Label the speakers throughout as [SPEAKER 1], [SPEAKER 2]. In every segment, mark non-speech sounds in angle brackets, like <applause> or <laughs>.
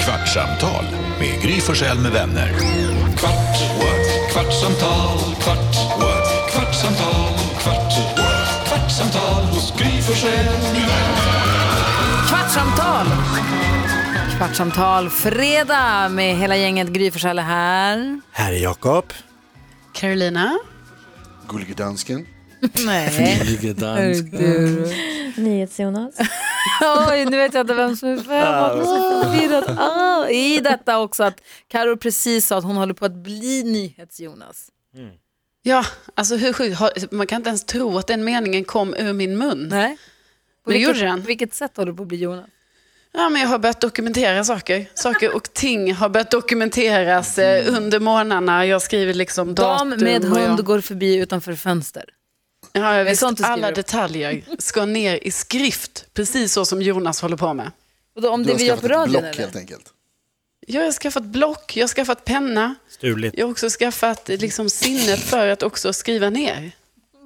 [SPEAKER 1] Kvartsamtal med Gry Forssell med vänner. Kvart, what? kvartsamtal, kvart, what? kvartsamtal, kvart, what? kvartsamtal hos Gry Forssell med vänner.
[SPEAKER 2] Kvartsamtal! Kvartsamtal fredag med hela gänget Gry Forssell är här.
[SPEAKER 3] Här är Jakob.
[SPEAKER 4] Carolina.
[SPEAKER 5] Gullige dansken.
[SPEAKER 2] Nej.
[SPEAKER 6] NyhetsJonas.
[SPEAKER 2] Oj, nu vet jag inte vem som är vem.
[SPEAKER 5] Ah,
[SPEAKER 2] Man blir så förvirrad. Ah, I detta också att Karo precis sa att hon håller på att bli NyhetsJonas.
[SPEAKER 4] Ja, alltså hur sjukt. har- Man kan inte ens tro att den meningen kom ur min mun.
[SPEAKER 2] Nej. På
[SPEAKER 4] Men det
[SPEAKER 2] vilket,
[SPEAKER 4] gjorde den.
[SPEAKER 2] på vilket sätt håller du på att bli Jonas?
[SPEAKER 4] Ja, men jag har börjat dokumentera saker. Saker och ting har börjat dokumenteras eh, under morgnarna. Jag skriver liksom
[SPEAKER 2] Mm. Dam
[SPEAKER 4] datum.
[SPEAKER 2] med
[SPEAKER 4] och
[SPEAKER 2] hund
[SPEAKER 4] Jag,
[SPEAKER 2] går förbi utanför fönster.
[SPEAKER 4] ja, jag
[SPEAKER 2] är sånt
[SPEAKER 4] visst,
[SPEAKER 2] du skriver
[SPEAKER 4] alla
[SPEAKER 2] upp.
[SPEAKER 4] detaljer ska ner i skrift, precis så som Jonas håller på med.
[SPEAKER 2] Och då, om
[SPEAKER 5] Du
[SPEAKER 2] det
[SPEAKER 5] har
[SPEAKER 2] vi gör
[SPEAKER 5] skaffat
[SPEAKER 2] på
[SPEAKER 5] ett
[SPEAKER 2] radion
[SPEAKER 5] block helt
[SPEAKER 2] eller?
[SPEAKER 5] enkelt.
[SPEAKER 4] Jag har skaffat block, jag har skaffat penna.
[SPEAKER 3] Stuligt.
[SPEAKER 4] Jag har också skaffat eh, liksom, sinnet för att också skriva ner.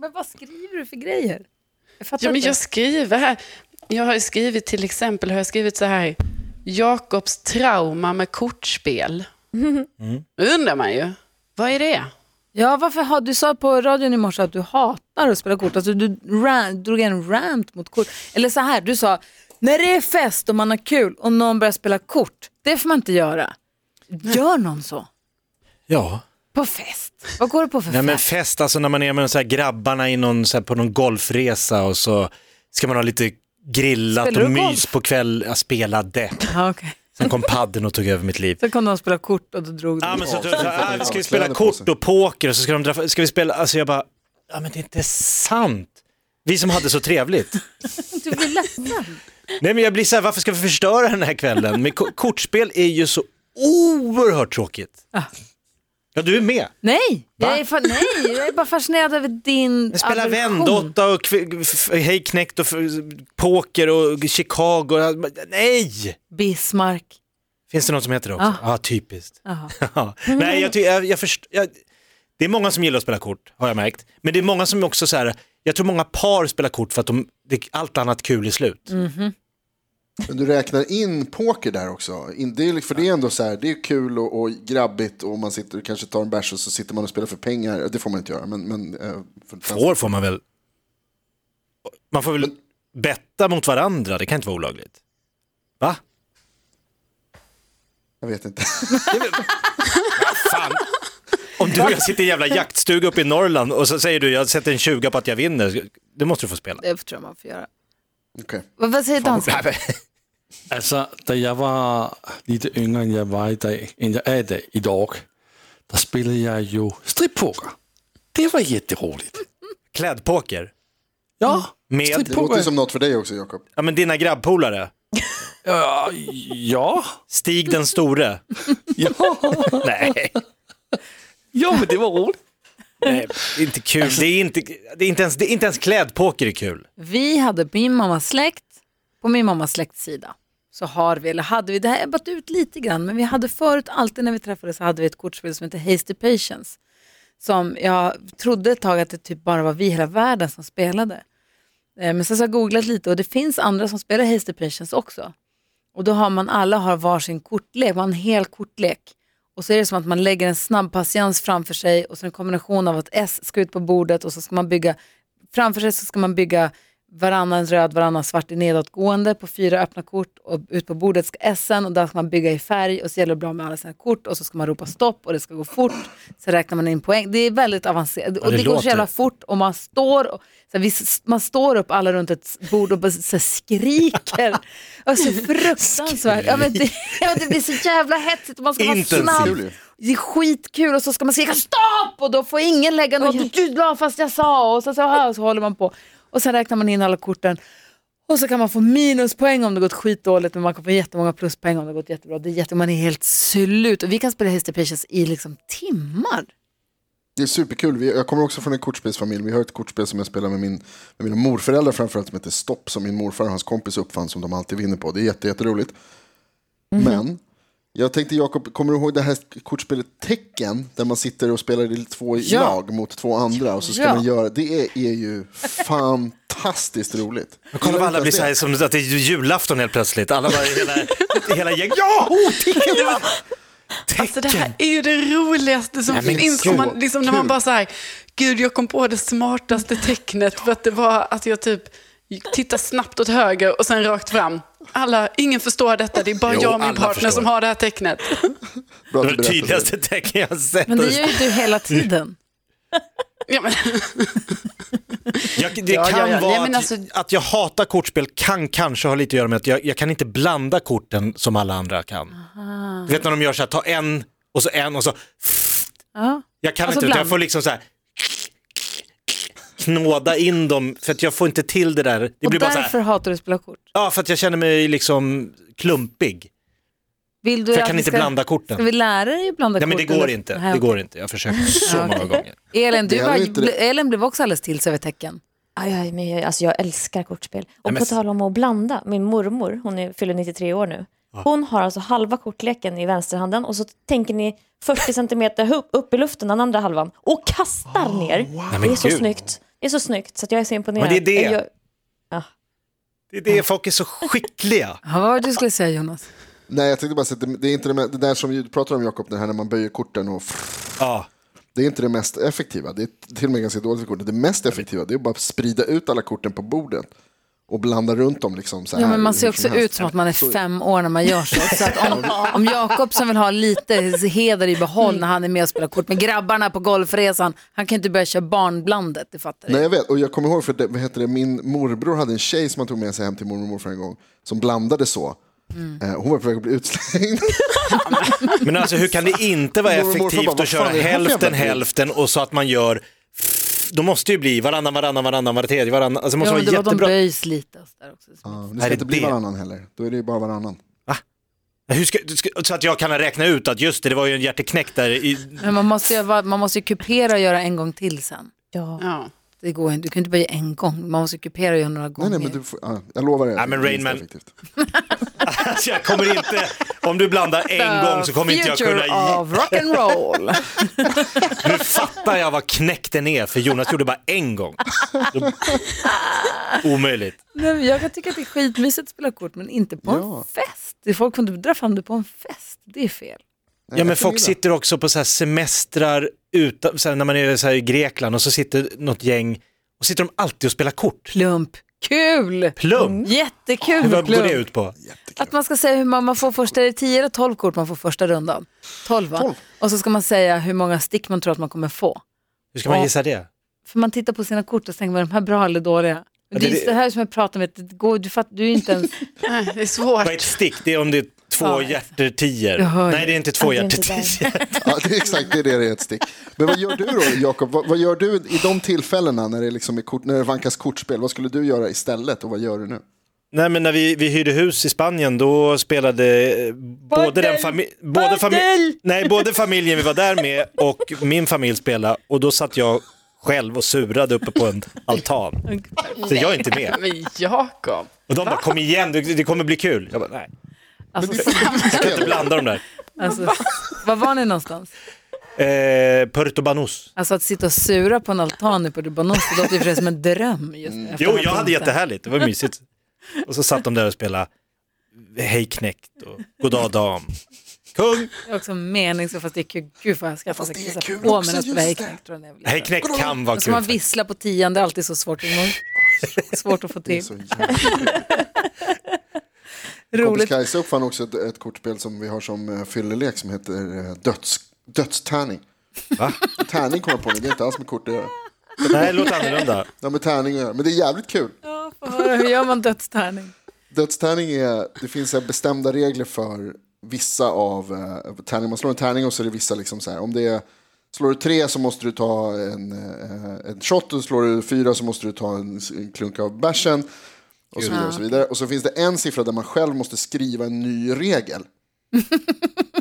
[SPEAKER 2] Men vad skriver du för grejer? Jag fattar
[SPEAKER 4] Ja, men
[SPEAKER 2] inte.
[SPEAKER 4] jag skriver här. Jag har ju skrivit till exempel, har jag skrivit så här. Jakobs trauma med kortspel.
[SPEAKER 3] Mm.
[SPEAKER 4] Då undrar man ju. Vad är det?
[SPEAKER 2] Ja, varför har, du sa på radion i morse att du hatar att spela kort. Alltså, du ran, drog en rant mot kort. Eller så här, du sa när det är fest och man har kul och någon börjar spela kort, det får man inte göra. Gör någon så?
[SPEAKER 3] Ja.
[SPEAKER 2] På fest? Vad går det på för
[SPEAKER 3] Nej, men
[SPEAKER 2] fest?
[SPEAKER 3] fest, alltså när man är med de så här grabbarna i någon, så här, på någon golfresa och så ska man ha lite grillat
[SPEAKER 2] Spelar
[SPEAKER 3] och
[SPEAKER 2] du golf?
[SPEAKER 3] mys på kväll. Jag spelade.
[SPEAKER 2] Ja, okej.
[SPEAKER 3] Sen kom padden och tog över mitt liv.
[SPEAKER 2] Sen kom någon och spelade kort och då drog du.
[SPEAKER 3] Ja, men så, så,
[SPEAKER 5] Ja,
[SPEAKER 3] så,
[SPEAKER 5] så-
[SPEAKER 3] ah, ska vi spela kort och poker och så ska de dra, ska vi spela, alltså jag bara, ja men det är inte sant. Vi som hade så trevligt.
[SPEAKER 2] Du blir ledsen.
[SPEAKER 3] Nej men jag blir så här, varför ska vi förstöra den här kvällen? Men ko- kortspel är ju så oerhört tråkigt. Ja, du är med.
[SPEAKER 2] Nej, jag
[SPEAKER 3] Va?
[SPEAKER 2] är, fa- nej, jag är bara fascinerad över din
[SPEAKER 3] Men spela
[SPEAKER 2] aversion.
[SPEAKER 3] Vendotta och kv- f- Hej knekt och f- poker och Chicago. Nej!
[SPEAKER 2] Bismarck.
[SPEAKER 3] Finns det något som heter det också? Ja, ah, typiskt.
[SPEAKER 2] Jaha.
[SPEAKER 3] <laughs> Ja. Nej, jag, ty- jag, jag först- jag, det är många som gillar att spela kort, har jag märkt. Men det är många som också så här, jag tror många par spelar kort för att de, det, allt annat kul är slut.
[SPEAKER 2] Mm.
[SPEAKER 5] Men du räknar in poker där också. In- Det är, li- för det är ändå så här, det är kul och, och grabbigt och man sitter och kanske tar en bärs och så sitter man och spelar för pengar. Det får man inte göra. Men, men, eh, för
[SPEAKER 3] Får får man väl, man får väl betta mot varandra, det kan inte vara olagligt. Va?
[SPEAKER 5] Jag vet inte. <laughs>
[SPEAKER 3] Fan. Om du och jag sitter i en jävla jaktstuga uppe i Norrland och så säger du jag sätter en 20 på att jag vinner, det måste du få spela.
[SPEAKER 2] Det tror jag man får göra.
[SPEAKER 5] Okej.
[SPEAKER 2] Vad, vad säger dansken?
[SPEAKER 7] Altså, da jeg var lidt yngre, end jeg var i dag, end jeg er i dag, i dag, der spillede jeg jo strippoker. Det var jätteroligt.
[SPEAKER 3] Klädpoker.
[SPEAKER 7] Ja,
[SPEAKER 3] Med-
[SPEAKER 5] Det låter
[SPEAKER 7] strippoker.
[SPEAKER 5] ju som något för dig också, Jakob.
[SPEAKER 3] Ja men dina grabbpolare.
[SPEAKER 7] Ja, ja,
[SPEAKER 3] Stig den store.
[SPEAKER 7] ja.
[SPEAKER 3] Nej,
[SPEAKER 7] Jo, men det var roligt.
[SPEAKER 3] nej, det är inte kul. Det är inte, det är inte, ens, det är inte ens klädpoker är kul.
[SPEAKER 2] Vi hade på min mammas släkt, på min mammas släkts sida, så har vi, eller hade vi, det här har ebbat ut lite grann, men vi hade förut alltid när vi träffades så hade vi ett kortspel som heter Hasty Patience. Som jag trodde ett tag att det typ bara var vi i hela världen som spelade. Eh, Men sen så har jag googlat lite och det finns andra som spelar Hasty Patience också. Och då har man, alla har varsin kortlek, man har en hel kortlek. Och så är det som att man lägger en snabb patiens framför sig och så en kombination av att S ska ut på bordet och så ska man bygga, framför sig så ska man bygga varannan röd, varannan svart i nedåtgående på fyra öppna kort och ut på bordet ska S och där ska man bygga i färg och så gäller det att bli av med alla sina kort och så ska man ropa stopp och det ska gå fort. Så räknar man in poäng. Det är väldigt avancerat och
[SPEAKER 3] det
[SPEAKER 2] det, går så
[SPEAKER 3] låter.
[SPEAKER 2] jävla fort och man står, och, så här, vi, s- man står upp alla runt ett bord och bara så här, skriker. <laughs> Alltså fruktansvärt. Ja, men det, <laughs> ja, men det blir så jävla hetsigt och man ska
[SPEAKER 3] Intensivt.
[SPEAKER 2] vara snabb.
[SPEAKER 5] Kul ju.
[SPEAKER 2] Det är skitkul och så ska man skrika stopp och då får ingen lägga något. Du la fast jag sa och så, så, här, och så håller man på. Och sen räknar man in alla korten. Och så kan man få minuspoäng om det gått skitdåligt men man kan få jättemånga pluspoäng om det gått jättebra. Det är jätte, man är helt slut. Och vi kan spela Hasty Patience i liksom timmar.
[SPEAKER 5] Det är superkul. Vi- Jag kommer också från en kortspelsfamilj. Vi har ett kortspel som jag spelar med, min, med mina morföräldrar framförallt som heter Stopp som min morfar och hans kompis uppfann som de alltid vinner på. Det är jätte- jätteroligt.
[SPEAKER 2] Mhm.
[SPEAKER 5] Men jag tänkte Jakob, kommer du ihåg det här kortspelet Tecken där man sitter och spelar i två i
[SPEAKER 2] Ja.
[SPEAKER 5] lag mot två andra och så ska
[SPEAKER 2] Ja.
[SPEAKER 5] man göra det är ju fantastiskt roligt.
[SPEAKER 3] Kolla vad alla blir så här, som att det är julafton helt plötsligt. Alla bara, hela, hela gäng, ja! Oh, tecken!
[SPEAKER 4] Alltså det här är ju det roligaste som
[SPEAKER 3] Nej, men
[SPEAKER 4] finns.
[SPEAKER 3] så
[SPEAKER 4] Om man, liksom, när man
[SPEAKER 5] kul.
[SPEAKER 4] bara så här, gud jag kom på det smartaste tecknet för att det var att jag typ tittar snabbt åt höger och sen rakt fram. Alla, ingen förstår detta, det är bara
[SPEAKER 3] Jo,
[SPEAKER 4] jag och min
[SPEAKER 3] alla
[SPEAKER 4] partner
[SPEAKER 3] förstår.
[SPEAKER 4] som har det här tecknet.
[SPEAKER 5] Bra att
[SPEAKER 3] Det
[SPEAKER 5] du
[SPEAKER 3] var det
[SPEAKER 5] berättade
[SPEAKER 3] tydligaste tecken jag har sett.
[SPEAKER 2] Men det gör ju du hela tiden.
[SPEAKER 4] Ja, men,
[SPEAKER 3] Jag, det
[SPEAKER 4] Ja,
[SPEAKER 3] kan
[SPEAKER 4] ja, ja.
[SPEAKER 3] vara
[SPEAKER 4] Nej, men
[SPEAKER 3] att,
[SPEAKER 4] alltså-
[SPEAKER 3] att jag hatar kortspel kan kanske ha lite att göra med att jag, jag kan inte blanda korten som alla andra kan. Du vet när de gör så här, ta en och så en och så.
[SPEAKER 2] <laughs> Ja.
[SPEAKER 3] Jag kan
[SPEAKER 2] Alltså
[SPEAKER 3] inte, utan jag
[SPEAKER 2] bland-
[SPEAKER 3] får liksom så här knåda in dem för att jag får inte till det där. Det
[SPEAKER 2] Och
[SPEAKER 3] blir bara så
[SPEAKER 2] därför
[SPEAKER 3] här,
[SPEAKER 2] hatar du att spela kort.
[SPEAKER 3] ja för att jag känner mig liksom klumpig.
[SPEAKER 2] Vill du
[SPEAKER 3] För jag
[SPEAKER 2] att
[SPEAKER 3] kan
[SPEAKER 2] vi
[SPEAKER 3] inte
[SPEAKER 2] ska,
[SPEAKER 3] blanda korten.
[SPEAKER 2] Ska vi lära dig att blanda
[SPEAKER 3] Ja
[SPEAKER 2] korten?
[SPEAKER 3] men det går inte, det går inte. Jag har försökt så
[SPEAKER 2] Ja,
[SPEAKER 3] många
[SPEAKER 2] okej.
[SPEAKER 3] gånger.
[SPEAKER 2] Elin, du
[SPEAKER 5] Det gäller
[SPEAKER 2] var,
[SPEAKER 5] inte det.
[SPEAKER 2] Elin blev också alldeles till sig över tecken.
[SPEAKER 6] Aj, aj, men jag, alltså jag älskar kortspel. Och
[SPEAKER 3] Nej, men-
[SPEAKER 6] på tal om att blanda, min mormor, hon är, fyller 93 år nu, hon har alltså halva kortleken i vänsterhanden och så tänker ni 40 centimeter upp, upp i luften den andra halvan och kastar ner.
[SPEAKER 3] Ah, Nej,
[SPEAKER 6] Det
[SPEAKER 3] men
[SPEAKER 6] är så
[SPEAKER 3] gud.
[SPEAKER 6] snyggt. Det är så snyggt så att jag är så imponerad.
[SPEAKER 3] Men det är det.
[SPEAKER 6] Jag,
[SPEAKER 3] Det är det, folk är så skickliga.
[SPEAKER 2] Ja, vad var det du skulle säga Jonas?
[SPEAKER 5] Nej, jag tänkte bara säga att det, det är inte det, med- det där som du pratar om Jakob, det här när man böjer korten och
[SPEAKER 3] Ja.
[SPEAKER 5] det är inte det mest effektiva. Det är till och med ganska dåligt för korten. Det mest effektiva det är att bara sprida ut alla korten på bordet och blanda runt dem liksom så här.
[SPEAKER 2] Ja, men man
[SPEAKER 5] hur
[SPEAKER 2] ser
[SPEAKER 5] som
[SPEAKER 2] också
[SPEAKER 5] helst.
[SPEAKER 2] ut som att man är fem år när man gör så. så att om, <laughs> om Jakob som vill ha lite heder i behåll när han är med och spelar kort med grabbarna på golfresan, han kan inte börja köra barnblandet, det fattar
[SPEAKER 5] Nej,
[SPEAKER 2] du.
[SPEAKER 5] jag vet. Och jag kommer ihåg, för det, vad heter det, min morbror hade en tjej som han tog med sig hem till mormor och morfar en gång, som blandade så.
[SPEAKER 2] Mm.
[SPEAKER 5] Eh, Hon var på väg att
[SPEAKER 2] <laughs>
[SPEAKER 5] bli utslängd.
[SPEAKER 3] Men alltså hur kan det inte vara
[SPEAKER 5] Mormor och morfar bara,
[SPEAKER 3] effektivt
[SPEAKER 5] "Vad
[SPEAKER 3] att köra
[SPEAKER 5] fan är det här för
[SPEAKER 3] hälften
[SPEAKER 5] jävla grej?"
[SPEAKER 3] hälften och så att man gör då måste det ju bli varannan, varannan, varannan, var tredje, varannan. Alltså det måste
[SPEAKER 2] Ja, men
[SPEAKER 3] vara
[SPEAKER 2] det var de
[SPEAKER 3] jättebra.
[SPEAKER 2] böjs lite. och så Där också.
[SPEAKER 5] Ja, det
[SPEAKER 3] Är
[SPEAKER 5] ska
[SPEAKER 3] det
[SPEAKER 5] inte bli
[SPEAKER 3] det?
[SPEAKER 5] varannan heller. Då är det ju bara varannan.
[SPEAKER 3] Hur ska, du ska, så att jag kan räkna ut att just det, det var ju en hjärteknäck där i... <laughs>
[SPEAKER 2] Men man måste, ju, vara- man måste ju kupera och göra en gång till sen.
[SPEAKER 6] ja.
[SPEAKER 4] ja.
[SPEAKER 2] Det går, inte- du kan ju inte böja en gång, man måste ju kupera och göra några
[SPEAKER 5] Nej,
[SPEAKER 2] gånger.
[SPEAKER 5] nej, men du får, ja, jag lovar dig.
[SPEAKER 3] Ja,
[SPEAKER 5] att
[SPEAKER 3] men
[SPEAKER 5] det är
[SPEAKER 3] Rain Man-
[SPEAKER 5] effektivt. Eh,
[SPEAKER 3] Alltså jag kommer inte, om du blandar en gång så kommer inte jag
[SPEAKER 2] Future
[SPEAKER 3] kunna... ge-
[SPEAKER 2] of
[SPEAKER 3] <laughs>
[SPEAKER 2] rock'n'roll.
[SPEAKER 3] Nu fattar jag vad knäck den är, för Jonas gjorde bara
[SPEAKER 2] <laughs>
[SPEAKER 3] en gång. Då- Omöjligt.
[SPEAKER 2] Nej, men jag kan tycka att det är skitmysigt att spela kort, men inte på en
[SPEAKER 5] Ja.
[SPEAKER 2] fest. Det är folk som du drar fram det på en fest, det är fel.
[SPEAKER 5] Nej,
[SPEAKER 3] Ja men
[SPEAKER 5] jag
[SPEAKER 3] folk
[SPEAKER 5] förmiddag.
[SPEAKER 3] sitter också på så här semestrar utan, så här, när man är så här i Grekland och så sitter något gäng och sitter de alltid och spelar kort.
[SPEAKER 2] Plump, kul,
[SPEAKER 3] Plum!
[SPEAKER 2] Mm. jättekul
[SPEAKER 3] Hur, vad går
[SPEAKER 2] plump.
[SPEAKER 3] det ut på?
[SPEAKER 2] Att man ska säga hur man, man får första, är det 10 eller 12 kort man får första rundan? 12 va?
[SPEAKER 5] Tolv.
[SPEAKER 2] Och så ska man säga hur många stick man tror att man kommer få.
[SPEAKER 3] Hur ska man
[SPEAKER 2] Ja.
[SPEAKER 3] gissa det?
[SPEAKER 2] För man tittar på sina kort och tänker, var de här bra eller dåliga? Men det är
[SPEAKER 3] det-
[SPEAKER 2] just det här som jag pratar om, att det går, du, fatt, du är ju inte
[SPEAKER 3] <laughs>
[SPEAKER 2] ens...
[SPEAKER 4] Nej, det är svårt.
[SPEAKER 3] Vad är ett stick? Det är om det är två
[SPEAKER 2] Ja,
[SPEAKER 3] hjärtertior.
[SPEAKER 2] Jag hör ju.
[SPEAKER 3] Nej, det är inte två
[SPEAKER 6] Ja, det är inte
[SPEAKER 3] hjärtertior.
[SPEAKER 5] Ja, det är exakt det, är det det är ett stick. Men vad gör du då, Jakob? Vad, vad gör du i de tillfällena när det, liksom är kort, när det vankas kortspel? Vad skulle du göra istället och vad gör du nu?
[SPEAKER 3] Nej, men när vi, vi hyrde hus i Spanien då spelade eh, både, den fami- både, fami- nej, både familjen vi var där med och min familj spelade och då satt jag själv och surade uppe på en altan. Så jag är inte med.
[SPEAKER 4] Men Jakob.
[SPEAKER 3] Och de bara, kom igen, det det kommer bli kul. Jag bara, nej,
[SPEAKER 2] Alltså,
[SPEAKER 3] jag kan inte blanda de där.
[SPEAKER 2] alltså, var var ni någonstans?
[SPEAKER 3] Eh, Puerto Banús.
[SPEAKER 2] Alltså att sitta och sura på en altan i Puerto Banos, det låter ju för sig som en dröm just nu.
[SPEAKER 3] Mm. Jo, jag hade jättehärligt, det var mysigt. Och så satt de där och spelade Hej knekt och Goddag dam. Kung!
[SPEAKER 2] Det är också meningsfullt, fast det är kul. Gud vad jag ska fast
[SPEAKER 5] det är kul
[SPEAKER 2] på
[SPEAKER 5] också,
[SPEAKER 2] mig att
[SPEAKER 5] just
[SPEAKER 2] spela
[SPEAKER 5] det.
[SPEAKER 2] knäckt. tror jag när jag blir
[SPEAKER 3] Hej
[SPEAKER 2] liten.
[SPEAKER 3] knekt kan vara
[SPEAKER 2] Och så man
[SPEAKER 3] kul.
[SPEAKER 2] vissla på tian, det är alltid så svårt, att
[SPEAKER 3] <laughs>
[SPEAKER 2] nå- svårt att få till.
[SPEAKER 5] Så jävla- Kompis
[SPEAKER 2] Roligt.
[SPEAKER 5] Kajsa uppfann också ett, ett kortspel som vi har som uh, fyllelek som heter eh, döds, dödstärning.
[SPEAKER 3] Va?
[SPEAKER 5] Tärning kommer jag på nu, det är inte alls med kort att göra.
[SPEAKER 3] Nej, det låter annorlunda.
[SPEAKER 5] Det har med tärning att göra, men det är jävligt kul.
[SPEAKER 2] Ja, får höra, <laughs> Hur gör man dödstärning?
[SPEAKER 5] Dödstärning är, det finns så här bestämda regler för vissa av eh, tärningar. Man slår en tärning och så är det vissa liksom så här, om det är, slår du tre så måste du ta en, eh, en shot och slår du fyra så måste du ta en, en klunk av bärsen. Och så, vidare och så vidare. Och så finns det en siffra där man själv måste skriva en ny regel.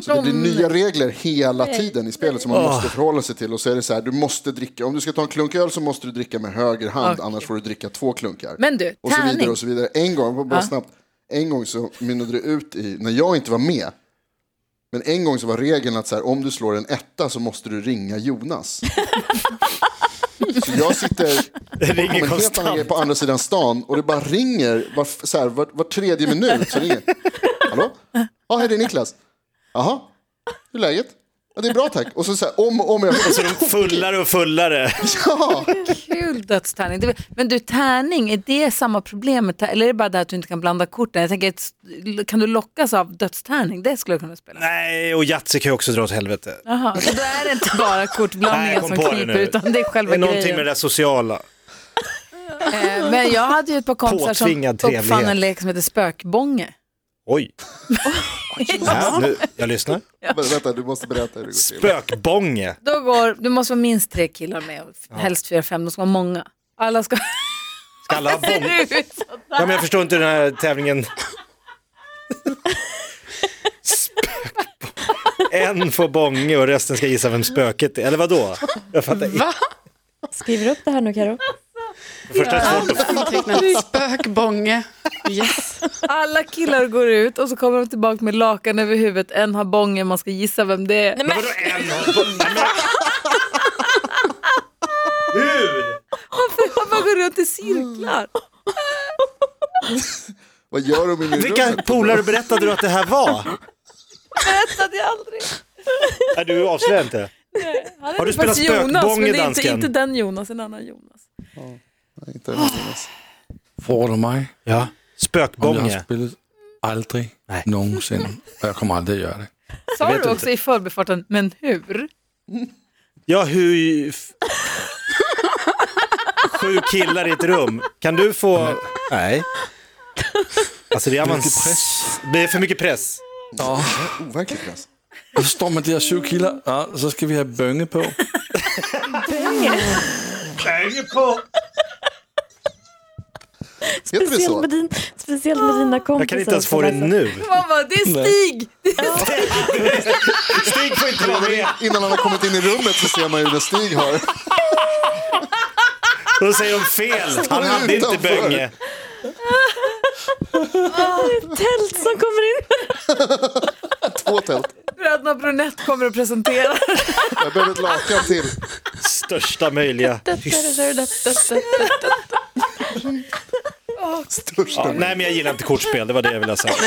[SPEAKER 5] Så det blir nya regler hela tiden i spelet som man måste förhålla sig till. Och så är det så här, du måste dricka, om du ska ta en klunk öl så måste du dricka med höger hand, annars får du dricka två klunkar.
[SPEAKER 2] Men du,
[SPEAKER 5] Och så vidare
[SPEAKER 2] tärning.
[SPEAKER 5] och så vidare. En gång, bara snabbt, en gång så mynnade det ut i, när jag inte var med, men en gång så var regeln att så här, om du slår en etta så måste du ringa Jonas. Så jag sitter
[SPEAKER 3] Det
[SPEAKER 5] på en
[SPEAKER 3] ringer
[SPEAKER 5] helt annan grej
[SPEAKER 3] konstant.
[SPEAKER 5] på andra sidan stan och det bara ringer var, så här, var, var tredje minut. Så ringer. Hallå? Ja, hej det är Niklas. Jaha, hur är läget? Ja, det är bra tack. Och så, så här, om och om jag...
[SPEAKER 3] Så de fullare och fullare.
[SPEAKER 5] Ja,
[SPEAKER 2] Kul dödstärning. Det- Men du, tärning, är det samma problemet? Eller är det bara det att du inte kan blanda korten? Jag tänker, ett- kan du lockas av dödstärning? Det skulle jag kunna spela.
[SPEAKER 3] Nej, och Yatzy kan ju också dra åt helvete.
[SPEAKER 2] Jaha, så då är det inte bara
[SPEAKER 3] <laughs> Nej,
[SPEAKER 2] kortblandningen
[SPEAKER 3] jag kom
[SPEAKER 2] som
[SPEAKER 3] på det
[SPEAKER 2] kniper,
[SPEAKER 3] nu.
[SPEAKER 2] utan det är
[SPEAKER 3] Det
[SPEAKER 2] själva
[SPEAKER 3] är någonting
[SPEAKER 2] grejen.
[SPEAKER 3] med det där sociala.
[SPEAKER 2] Eh, Men jag hade ju ett par kompisar som
[SPEAKER 3] Påtvingad trevlighet.
[SPEAKER 2] uppfann en lek som heter spökbånge.
[SPEAKER 3] <laughs> Oj. Ja, nu, jag lyssnar.
[SPEAKER 5] men vänta du måste berätta hur det går till.
[SPEAKER 3] Spökbånge.
[SPEAKER 2] Då går, du måste vara minst tre killar med, och f- helst fyra, fem, de ska vara många. Alla
[SPEAKER 3] <laughs>
[SPEAKER 2] ska...
[SPEAKER 3] Ska alla ha bång?
[SPEAKER 2] Ser <laughs> ut så?
[SPEAKER 3] Ja, men jag förstår inte den här tävlingen. Spökbånge. En får bånge och resten ska gissa vem spöket är. Eller vadå? Jag fattar inte.
[SPEAKER 4] Va?
[SPEAKER 6] Skriver upp det här nu
[SPEAKER 3] <laughs>
[SPEAKER 6] Karo.
[SPEAKER 3] Det Första är svårt att...
[SPEAKER 4] Antecknat spökbånge. Yes.
[SPEAKER 2] Alla killar går ut och så kommer de tillbaka med lakan över huvudet, en har bånge, man ska gissa vem det är.
[SPEAKER 6] Nej, men,
[SPEAKER 3] Vadå en har bånge? Nej, men- Hur?
[SPEAKER 2] Man bara går runt i cirklar.
[SPEAKER 5] Vad gör de inne i
[SPEAKER 3] Vilka
[SPEAKER 5] rummet?
[SPEAKER 3] polare berättade du att det här var?
[SPEAKER 2] Berättade jag aldrig.
[SPEAKER 3] Nej, du avslöjar inte.
[SPEAKER 2] Han
[SPEAKER 3] Har
[SPEAKER 2] heter
[SPEAKER 3] du
[SPEAKER 2] faktiskt
[SPEAKER 3] spelat
[SPEAKER 2] Jonas, men
[SPEAKER 3] spökbånge,
[SPEAKER 2] det är inte,
[SPEAKER 3] dansken?
[SPEAKER 2] inte den Jonas, en annan Jonas.
[SPEAKER 5] Nej, inte någonstans.
[SPEAKER 7] Frågar du mig
[SPEAKER 3] Ja.
[SPEAKER 7] om jag har
[SPEAKER 3] Spökbånge.
[SPEAKER 7] spelat? Aldrig
[SPEAKER 3] Nej.
[SPEAKER 7] någonsin. Och jag kommer aldrig göra det.
[SPEAKER 2] Sa
[SPEAKER 3] vet
[SPEAKER 2] du också
[SPEAKER 3] inte.
[SPEAKER 2] i förbifarten, men hur?
[SPEAKER 3] Ja, hur... f- Sju killar i ett rum. Kan du få... Nej. Alltså det är, avans...
[SPEAKER 7] mycket press.
[SPEAKER 3] det är för mycket press.
[SPEAKER 7] Ja,
[SPEAKER 5] Overkligt alltså.
[SPEAKER 7] och så står man där 20 kilo. Ja, så ska vi ha bönge på.
[SPEAKER 3] på.
[SPEAKER 5] Heter det
[SPEAKER 6] speciellt,
[SPEAKER 5] så?
[SPEAKER 6] med din, speciellt med dina kompisar.
[SPEAKER 3] Jag kan inte ens få det nu.
[SPEAKER 2] Man bara, det är Stig!
[SPEAKER 3] Stig får inte vara med.
[SPEAKER 5] Innan han har kommit in i rummet så ser man ju när Stig
[SPEAKER 6] <laughs>
[SPEAKER 5] har...
[SPEAKER 3] Då säger de fel. Han hade inte
[SPEAKER 5] Utanför.
[SPEAKER 3] bönge.
[SPEAKER 6] Tält som kommer in.
[SPEAKER 5] Två tält.
[SPEAKER 2] Bröderna Brunett kommer att presentera.
[SPEAKER 5] Jag behöver ett lakan till.
[SPEAKER 3] Största möjliga. Ja, nej, men jag gillar inte kortspel. Det var det jag ville ha sagt.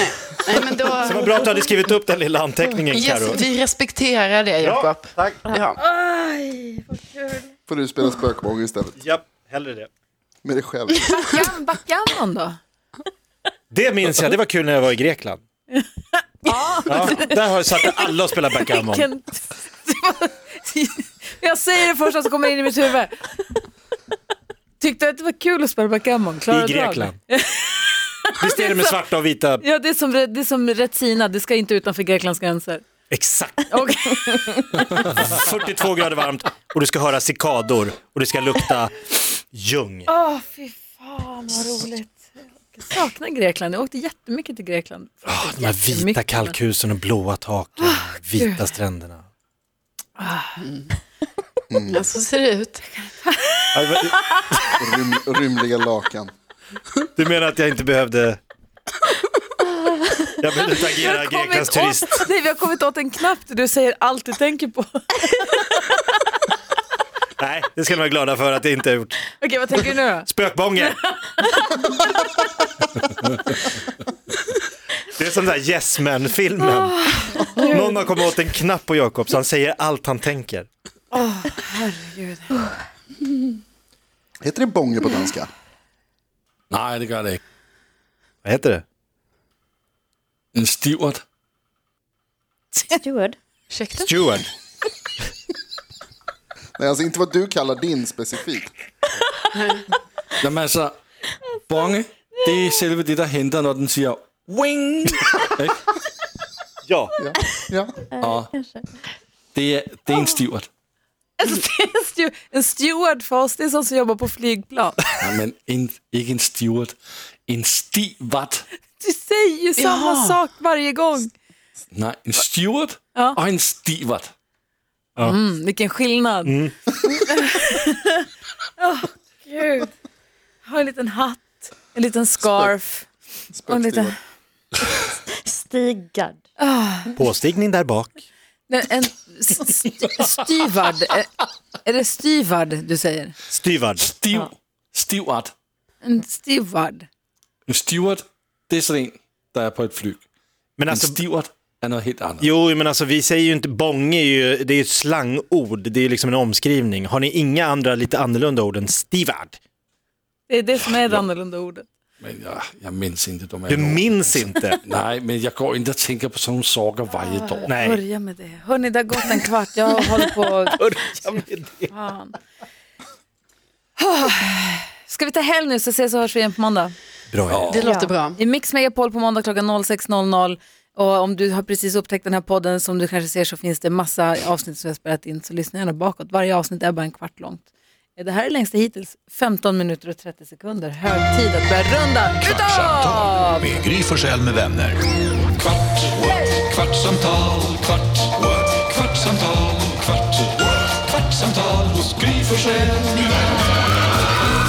[SPEAKER 4] Nej, men då...
[SPEAKER 3] Det var bra att du hade skrivit upp den lilla anteckningen, Karo.
[SPEAKER 4] Yes, vi respekterar det, Jakob.
[SPEAKER 3] tack.
[SPEAKER 4] Ja.
[SPEAKER 5] Får du spela spökbåge istället.
[SPEAKER 3] Ja, hellre det.
[SPEAKER 5] Med dig
[SPEAKER 6] <laughs>
[SPEAKER 5] själv.
[SPEAKER 2] Backgammon- Backgammon då?
[SPEAKER 3] Det minns jag. Det var kul när jag var i Grekland. Ja, där har- satt alla och spelade backgammon.
[SPEAKER 2] Vilken... <laughs> Jag säger det första som kommer in i mitt huvud. Tyckte du att det var kul att spela backgammon? Klara
[SPEAKER 3] I
[SPEAKER 2] drag.
[SPEAKER 3] Grekland. Visst är det med svarta och vita?
[SPEAKER 2] Ja, det är som, det är som Retsina, det ska inte utanför Greklands gränser.
[SPEAKER 3] Exakt.
[SPEAKER 2] Och,
[SPEAKER 3] 42 grader varmt och du ska höra cikador och det ska lukta ljung.
[SPEAKER 2] <laughs> åh, fy fan vad roligt. Jag saknar Grekland, jag åkte jättemycket till Grekland.
[SPEAKER 3] Ah, de här vita
[SPEAKER 2] Jättemycket.
[SPEAKER 3] kalkhusen och blåa taken, vita stränderna.
[SPEAKER 4] Ja, så ser det ut.
[SPEAKER 3] Ja, det var-
[SPEAKER 5] Rym, rymliga lakan.
[SPEAKER 3] Du menar att jag inte behövde... Jag behövde inte agera Greklands turist.
[SPEAKER 2] åt, nej, vi har kommit åt en knapp där du säger allt du tänker <laughs> på. Okej,
[SPEAKER 3] Nej, det ska ni vara glada för att jag inte har gjort.
[SPEAKER 2] vad tänker du nu då?
[SPEAKER 3] Spökbånge! Det är som den där Yes Men-filmen. Någon har kommit åt en knapp på Jakob så han säger allt han tänker.
[SPEAKER 5] Heter det bånge på danska?
[SPEAKER 7] Nej, det gör det inte.
[SPEAKER 3] Vad heter det?
[SPEAKER 7] En stivert.
[SPEAKER 6] Steward.
[SPEAKER 4] Ursäkta?
[SPEAKER 3] Steward.
[SPEAKER 5] Nej, alltså inte vad du kallar din specifikt.
[SPEAKER 7] Jamen altså, bonge, det er selve det, der henter, når den siger wing. <laughs> Ikke?
[SPEAKER 3] Ja,
[SPEAKER 5] Ja. ja.
[SPEAKER 7] Det, er, det er en stivert.
[SPEAKER 2] Alltså, Det är en, stew- en steward för oss, det är sån som jobbar på flygplan.
[SPEAKER 7] Nej, men en, ikke en stivert. En stivert.
[SPEAKER 2] Du säger ju samma sak varje gång.
[SPEAKER 7] Nej, en stivert
[SPEAKER 2] Ja.
[SPEAKER 7] og en stivert.
[SPEAKER 2] Mm, vilken skillnad. <laughs> Åh, gud. Har en liten hatt, en liten scarf. Och en liten...
[SPEAKER 5] Spökstilar.
[SPEAKER 6] Stigard.
[SPEAKER 3] påstigning där bak.
[SPEAKER 2] Nej, En st- st- styvard, är, är det styvard du säger?
[SPEAKER 3] Styvard.
[SPEAKER 7] Stiv, stivart.
[SPEAKER 2] En styvard.
[SPEAKER 7] En steward, det är sådan en, der er på et fly.
[SPEAKER 3] Men
[SPEAKER 7] En
[SPEAKER 3] alltså,
[SPEAKER 7] stivart er noget helt andet.
[SPEAKER 3] jo, men alltså vi säger ju inte, bånge är ju, det är ju ett slangord, det är ju liksom en omskrivning. Har ni inga andra lite annorlunda ord än stivard?
[SPEAKER 2] Det är det som är det annorlunda ordet.
[SPEAKER 7] Men jeg, jeg mindes ikke, du
[SPEAKER 3] Du minns inte?
[SPEAKER 7] Nej, men jeg går ikke og tænker på sådan nogle sorger varje dag.
[SPEAKER 3] Nej.
[SPEAKER 2] Börja med det. Hörni, det har gått en kvart. Jag håller
[SPEAKER 3] <laughs>
[SPEAKER 2] på...
[SPEAKER 3] Börja med det.
[SPEAKER 2] Fan. Ska vi ta helg nu så ses och hörs vi igen på måndag?
[SPEAKER 3] Bra. Ja.
[SPEAKER 4] Det låter bra.
[SPEAKER 2] I Mix Megapol på måndag klockan 06.00. Och om du har precis upptäckt den här podden som du kanske ser så finns det massa avsnitt som jag har spelat in. Så lyssna gärna bakåt. Varje avsnitt är bara en kvart långt. Det här är längsta hittills. 15 minuter och 30 sekunder. Hög tid att börja runda utav!
[SPEAKER 1] Med Gry Forssell med vänner. Kvart, what? kvartsamtal, kvart, what? kvartsamtal, kvart, what? kvartsamtal hos Gry Forssell med vänner.